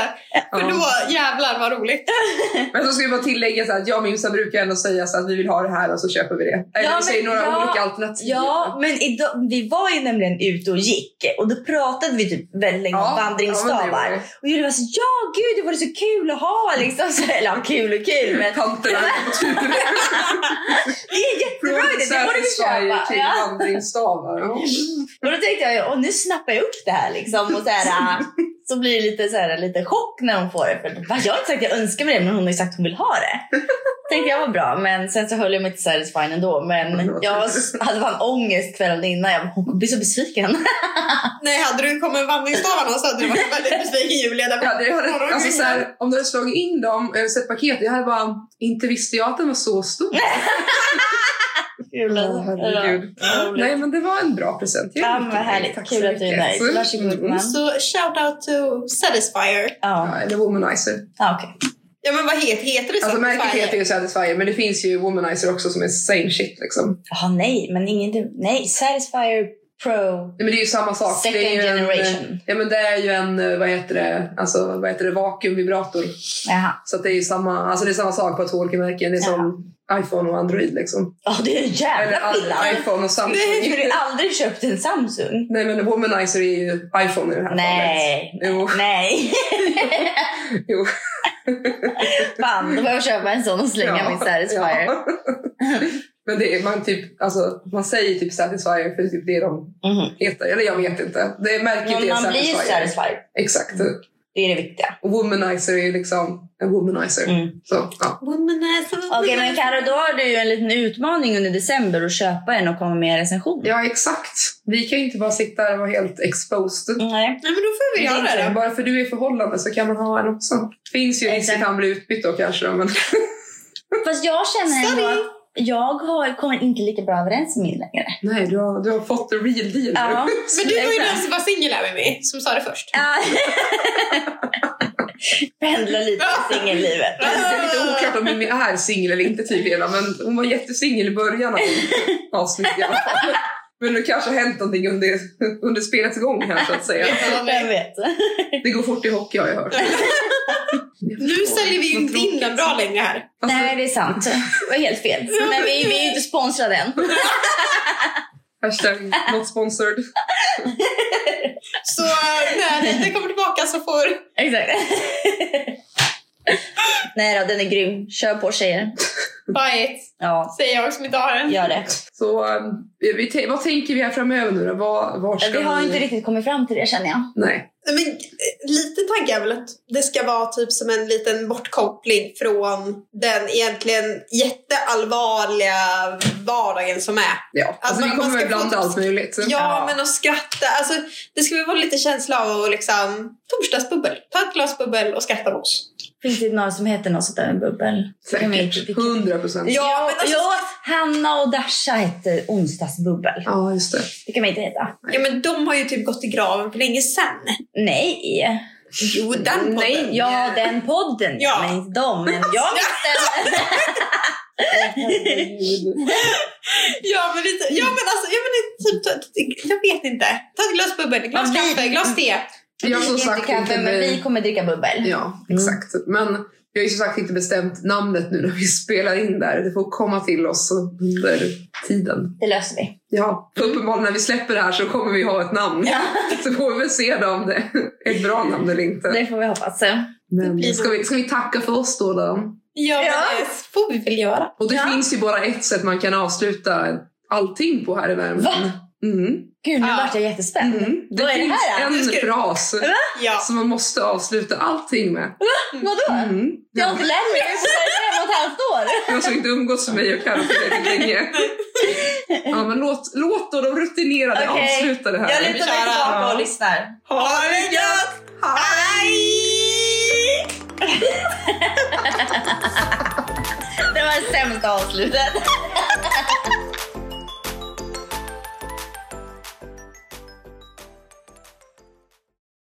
[SPEAKER 1] För
[SPEAKER 2] Ja.
[SPEAKER 1] då jävlar vad roligt.
[SPEAKER 2] Men så ska vi bara tillägga så här att jag och Mimsa brukar ändå säga så att vi vill ha det här och så köper vi det. Eller
[SPEAKER 3] Ja,
[SPEAKER 2] vi säger
[SPEAKER 3] men-
[SPEAKER 2] några
[SPEAKER 3] ja,
[SPEAKER 2] olika alternativ.
[SPEAKER 3] Ja, men idag, vi var ju nämligen ute och gick och då pratade vi typ väldigt länge om
[SPEAKER 2] ja, men det
[SPEAKER 3] vandringsstavar.
[SPEAKER 2] gör vi.
[SPEAKER 3] och Julia var så ja gud det vore så kul att ha liksom. Så, eller ja, kul och kul men
[SPEAKER 2] Tanterna på turen.
[SPEAKER 3] det är jättebra
[SPEAKER 2] Från
[SPEAKER 3] idé, det borde vi
[SPEAKER 2] Satisfyer
[SPEAKER 3] köpa.
[SPEAKER 2] till
[SPEAKER 3] Ja.
[SPEAKER 2] vandringsstavar. Ja.
[SPEAKER 3] Och då tänkte jag ju, "Åh, nu snappar jag upp det här liksom. Och så, här, äh, så blir det lite, så här, lite chock när hon får det. För, "Va, jag har inte sagt att jag önskar mig det, men hon har ju sagt att hon vill ha det. Tänkte jag var bra, men sen så höll jag mig till Satisfying ändå. Men jag s- hade fan ångest kvällen innan. Jag bara, hon kommer bli så besviken.
[SPEAKER 1] Nej, hade du kommit med vandringsstavarna så hade du varit väldigt besviken Julia. Där
[SPEAKER 2] Jag hade, jag
[SPEAKER 1] Har
[SPEAKER 2] hade,
[SPEAKER 1] de
[SPEAKER 2] alltså,
[SPEAKER 1] grejer?
[SPEAKER 2] så här, om du hade slagit in dem och sett paketet, jag hade bara, inte visste jag att den var så stor.
[SPEAKER 3] Kul.
[SPEAKER 2] Åh, herregud. Nej men det var en bra present. Jag är
[SPEAKER 3] Ja, men
[SPEAKER 2] mycket
[SPEAKER 3] vad
[SPEAKER 2] nöjd.
[SPEAKER 3] härligt.
[SPEAKER 2] Tack
[SPEAKER 3] Kul
[SPEAKER 2] så
[SPEAKER 3] att du är
[SPEAKER 2] mycket.
[SPEAKER 3] nöjd. Varsågod,
[SPEAKER 2] Mm.
[SPEAKER 3] man.
[SPEAKER 1] Så shout out to Satisfyer.
[SPEAKER 2] Ja,
[SPEAKER 3] Ja,
[SPEAKER 2] eller womanizer.
[SPEAKER 3] ja okej.
[SPEAKER 1] Ja men vad heter, heter det?
[SPEAKER 2] Alltså
[SPEAKER 1] Satisfyer?
[SPEAKER 2] märket heter ju Satisfyer men det finns ju womanizer också som är same shit liksom.
[SPEAKER 3] Jaha, nej, men ingen... Nej, Satisfyer Pro.
[SPEAKER 2] Nej, men det är ju samma sak.
[SPEAKER 3] Second
[SPEAKER 2] det är ju En, eh,
[SPEAKER 3] generation.
[SPEAKER 2] ja, men det är ju en, eh, vad heter det, alltså, vad heter det, vakuumvibrator.
[SPEAKER 3] Jaha.
[SPEAKER 2] Så att det är ju samma, alltså det är samma sak på ett hålkemärken. Det är som iPhone och Android liksom.
[SPEAKER 3] Ja, det är en
[SPEAKER 2] Eller
[SPEAKER 3] jävla
[SPEAKER 2] all-
[SPEAKER 3] skillnad.
[SPEAKER 2] iPhone och Samsung.
[SPEAKER 3] Jag skulle aldrig köpt en Samsung.
[SPEAKER 2] Nej men Womanizer är ju iPhone i det här
[SPEAKER 3] Nej,
[SPEAKER 2] fallet. Jo,
[SPEAKER 3] nej.
[SPEAKER 2] jo.
[SPEAKER 3] Fan, då får jag köpa en sån och slänga
[SPEAKER 2] Ja,
[SPEAKER 3] min Satisfyer.
[SPEAKER 2] ja. men det är, man, typ, alltså, man säger typ Satisfyer för det är typ det de
[SPEAKER 3] Mhm.
[SPEAKER 2] heter. Eller jag vet inte. Typ Det märket
[SPEAKER 3] Men
[SPEAKER 2] är
[SPEAKER 3] man blir ju
[SPEAKER 2] Satisfyer.
[SPEAKER 3] Satisfyer.
[SPEAKER 2] Exakt.
[SPEAKER 3] Det är det viktiga.
[SPEAKER 2] Och Womanizer är ju liksom en womanizer.
[SPEAKER 3] Mm.
[SPEAKER 2] Så, ja.
[SPEAKER 1] Womanizer.
[SPEAKER 3] Okej, men Karo, då har du ju en liten utmaning under december att köpa en och komma med i recension.
[SPEAKER 2] ja, exakt. Vi kan ju inte bara sitta här och vara helt exposed.
[SPEAKER 3] Nej.
[SPEAKER 1] Nej men då får vi göra det då.
[SPEAKER 2] Bara för du är i förhållande så kan man ha en också. Finns ju risk att
[SPEAKER 3] Exakt.
[SPEAKER 2] han blir utbytt då kanske. då, Men...
[SPEAKER 3] Fast jag känner ändå
[SPEAKER 1] Sorry.
[SPEAKER 3] att jag har, kommer inte lika bra överens med min längre.
[SPEAKER 2] Nej, du har, du har fått the real deal
[SPEAKER 3] Ja.
[SPEAKER 2] nu.
[SPEAKER 1] Men du var ju den som var singel här med mig, som sa det först.
[SPEAKER 3] Ja. Pendla lite i singellivet.
[SPEAKER 2] Det är lite oklart om Mimmi är singel eller inte tydligen. Men hon var jättesingel i början av avsnittet i alla fall. Men det kanske har hänt någonting under, under spelets gång här så att säga.
[SPEAKER 3] Vem vet?
[SPEAKER 2] Det går fort i hockey har jag hört.
[SPEAKER 1] Nu säljer vi ju
[SPEAKER 2] Vad
[SPEAKER 1] inte in
[SPEAKER 2] tråkigt.
[SPEAKER 1] den bra längre här.
[SPEAKER 2] Alltså,
[SPEAKER 3] Nej, det är sant. Det var helt fel. Nej, vi, vi är ju inte sponsrade än.
[SPEAKER 2] Hashtag not sponsored.
[SPEAKER 1] Så eh, när den kommer tillbaka så får...
[SPEAKER 3] Exakt. Nej då, den är grym. Kör på tjejer.
[SPEAKER 1] Buy it,
[SPEAKER 3] Ja,
[SPEAKER 1] säger jag som inte har den.
[SPEAKER 3] gör det.
[SPEAKER 2] Så eh, vi te- vad tänker vi här framöver nu då? Var, var ska
[SPEAKER 3] Vi har inte riktigt kommit fram till det känner jag.
[SPEAKER 2] Nej.
[SPEAKER 1] Nej, Men eh, lite tanke är väl att det ska vara typ som en liten bortkoppling från den egentligen jätteallvarliga vardagen som är.
[SPEAKER 2] Ja. Alltså,
[SPEAKER 1] man-
[SPEAKER 2] vi
[SPEAKER 1] man
[SPEAKER 2] kommer
[SPEAKER 1] ska få
[SPEAKER 2] väl blanda
[SPEAKER 1] typ-
[SPEAKER 2] allt möjligt.
[SPEAKER 1] Ja, men att skratta. Alltså, det ska väl vara lite känsla av att liksom, torsdagsbubbel. Ta ett glas bubbel och skratta med oss.
[SPEAKER 3] Finns det några som heter något sånt där med bubbel? Kan vi- vi
[SPEAKER 2] Säkert.
[SPEAKER 3] kan-
[SPEAKER 2] Hundra procent.
[SPEAKER 1] Ja, men alltså-
[SPEAKER 3] ja, Hanna och Dasha hette onsdagsbubbel.
[SPEAKER 2] Ja, just det.
[SPEAKER 3] Det kan vi inte heta.
[SPEAKER 1] Ja, men de har ju typ gått i graven för länge sedan.
[SPEAKER 3] Nej.
[SPEAKER 1] Jo, den podden.
[SPEAKER 3] Nej, ja, den podden.
[SPEAKER 1] Ja.
[SPEAKER 3] Men inte dem. Men jag visste.
[SPEAKER 1] Ja, men, lite, ja, men alltså, jag, men, typ, ta- jag vet inte. Ta ett glas bubbel, ett glas
[SPEAKER 3] Ja, vi-
[SPEAKER 1] kaffe, ett glas te.
[SPEAKER 2] Jag har som
[SPEAKER 3] Vi dricker
[SPEAKER 2] sagt
[SPEAKER 3] inte kaffe,
[SPEAKER 2] inte...
[SPEAKER 3] men vi
[SPEAKER 2] Med...
[SPEAKER 3] kommer dricka bubbel.
[SPEAKER 2] Ja, exakt. Men vi har ju som sagt inte bestämt namnet nu när vi spelar in där. Det får komma till oss under tiden.
[SPEAKER 3] Det löser vi.
[SPEAKER 2] Ja, för uppenbarligen när vi släpper det här så kommer vi ha ett namn. Så får vi väl se då om det är ett bra namn eller inte.
[SPEAKER 3] Det får vi hoppas.
[SPEAKER 2] Men ska vi, ska vi tacka för oss då? då?
[SPEAKER 1] Ja,
[SPEAKER 3] Ja.
[SPEAKER 1] men det får vi väl göra.
[SPEAKER 2] Och det
[SPEAKER 3] Ja.
[SPEAKER 2] finns ju bara ett sätt man kan avsluta allting på här i Värmland.
[SPEAKER 3] Va?
[SPEAKER 2] Mm.
[SPEAKER 3] Gud, nu
[SPEAKER 1] Ja.
[SPEAKER 3] vart jag jättespänd.
[SPEAKER 2] Mm.
[SPEAKER 3] Vad är det
[SPEAKER 2] finns
[SPEAKER 3] här då?
[SPEAKER 1] Nu ska
[SPEAKER 2] en
[SPEAKER 1] du-
[SPEAKER 2] fras
[SPEAKER 1] Ja.
[SPEAKER 2] som man måste avsluta allting med.
[SPEAKER 3] Vadå?
[SPEAKER 2] Mm.
[SPEAKER 3] Jag har
[SPEAKER 2] Ja.
[SPEAKER 3] inte lärt mig det på ett och ett halvt år.
[SPEAKER 2] Du har så inte umgåtts med mig och Carro tillräckligt länge. Ja, men låt, låt då de rutinerade
[SPEAKER 3] Okej.
[SPEAKER 2] avsluta det här.
[SPEAKER 3] Jag lutar mig
[SPEAKER 1] Kära.
[SPEAKER 3] tillbaka och lyssnar.
[SPEAKER 1] Ha det gött! Hej!
[SPEAKER 3] Det var det sämsta avslutet.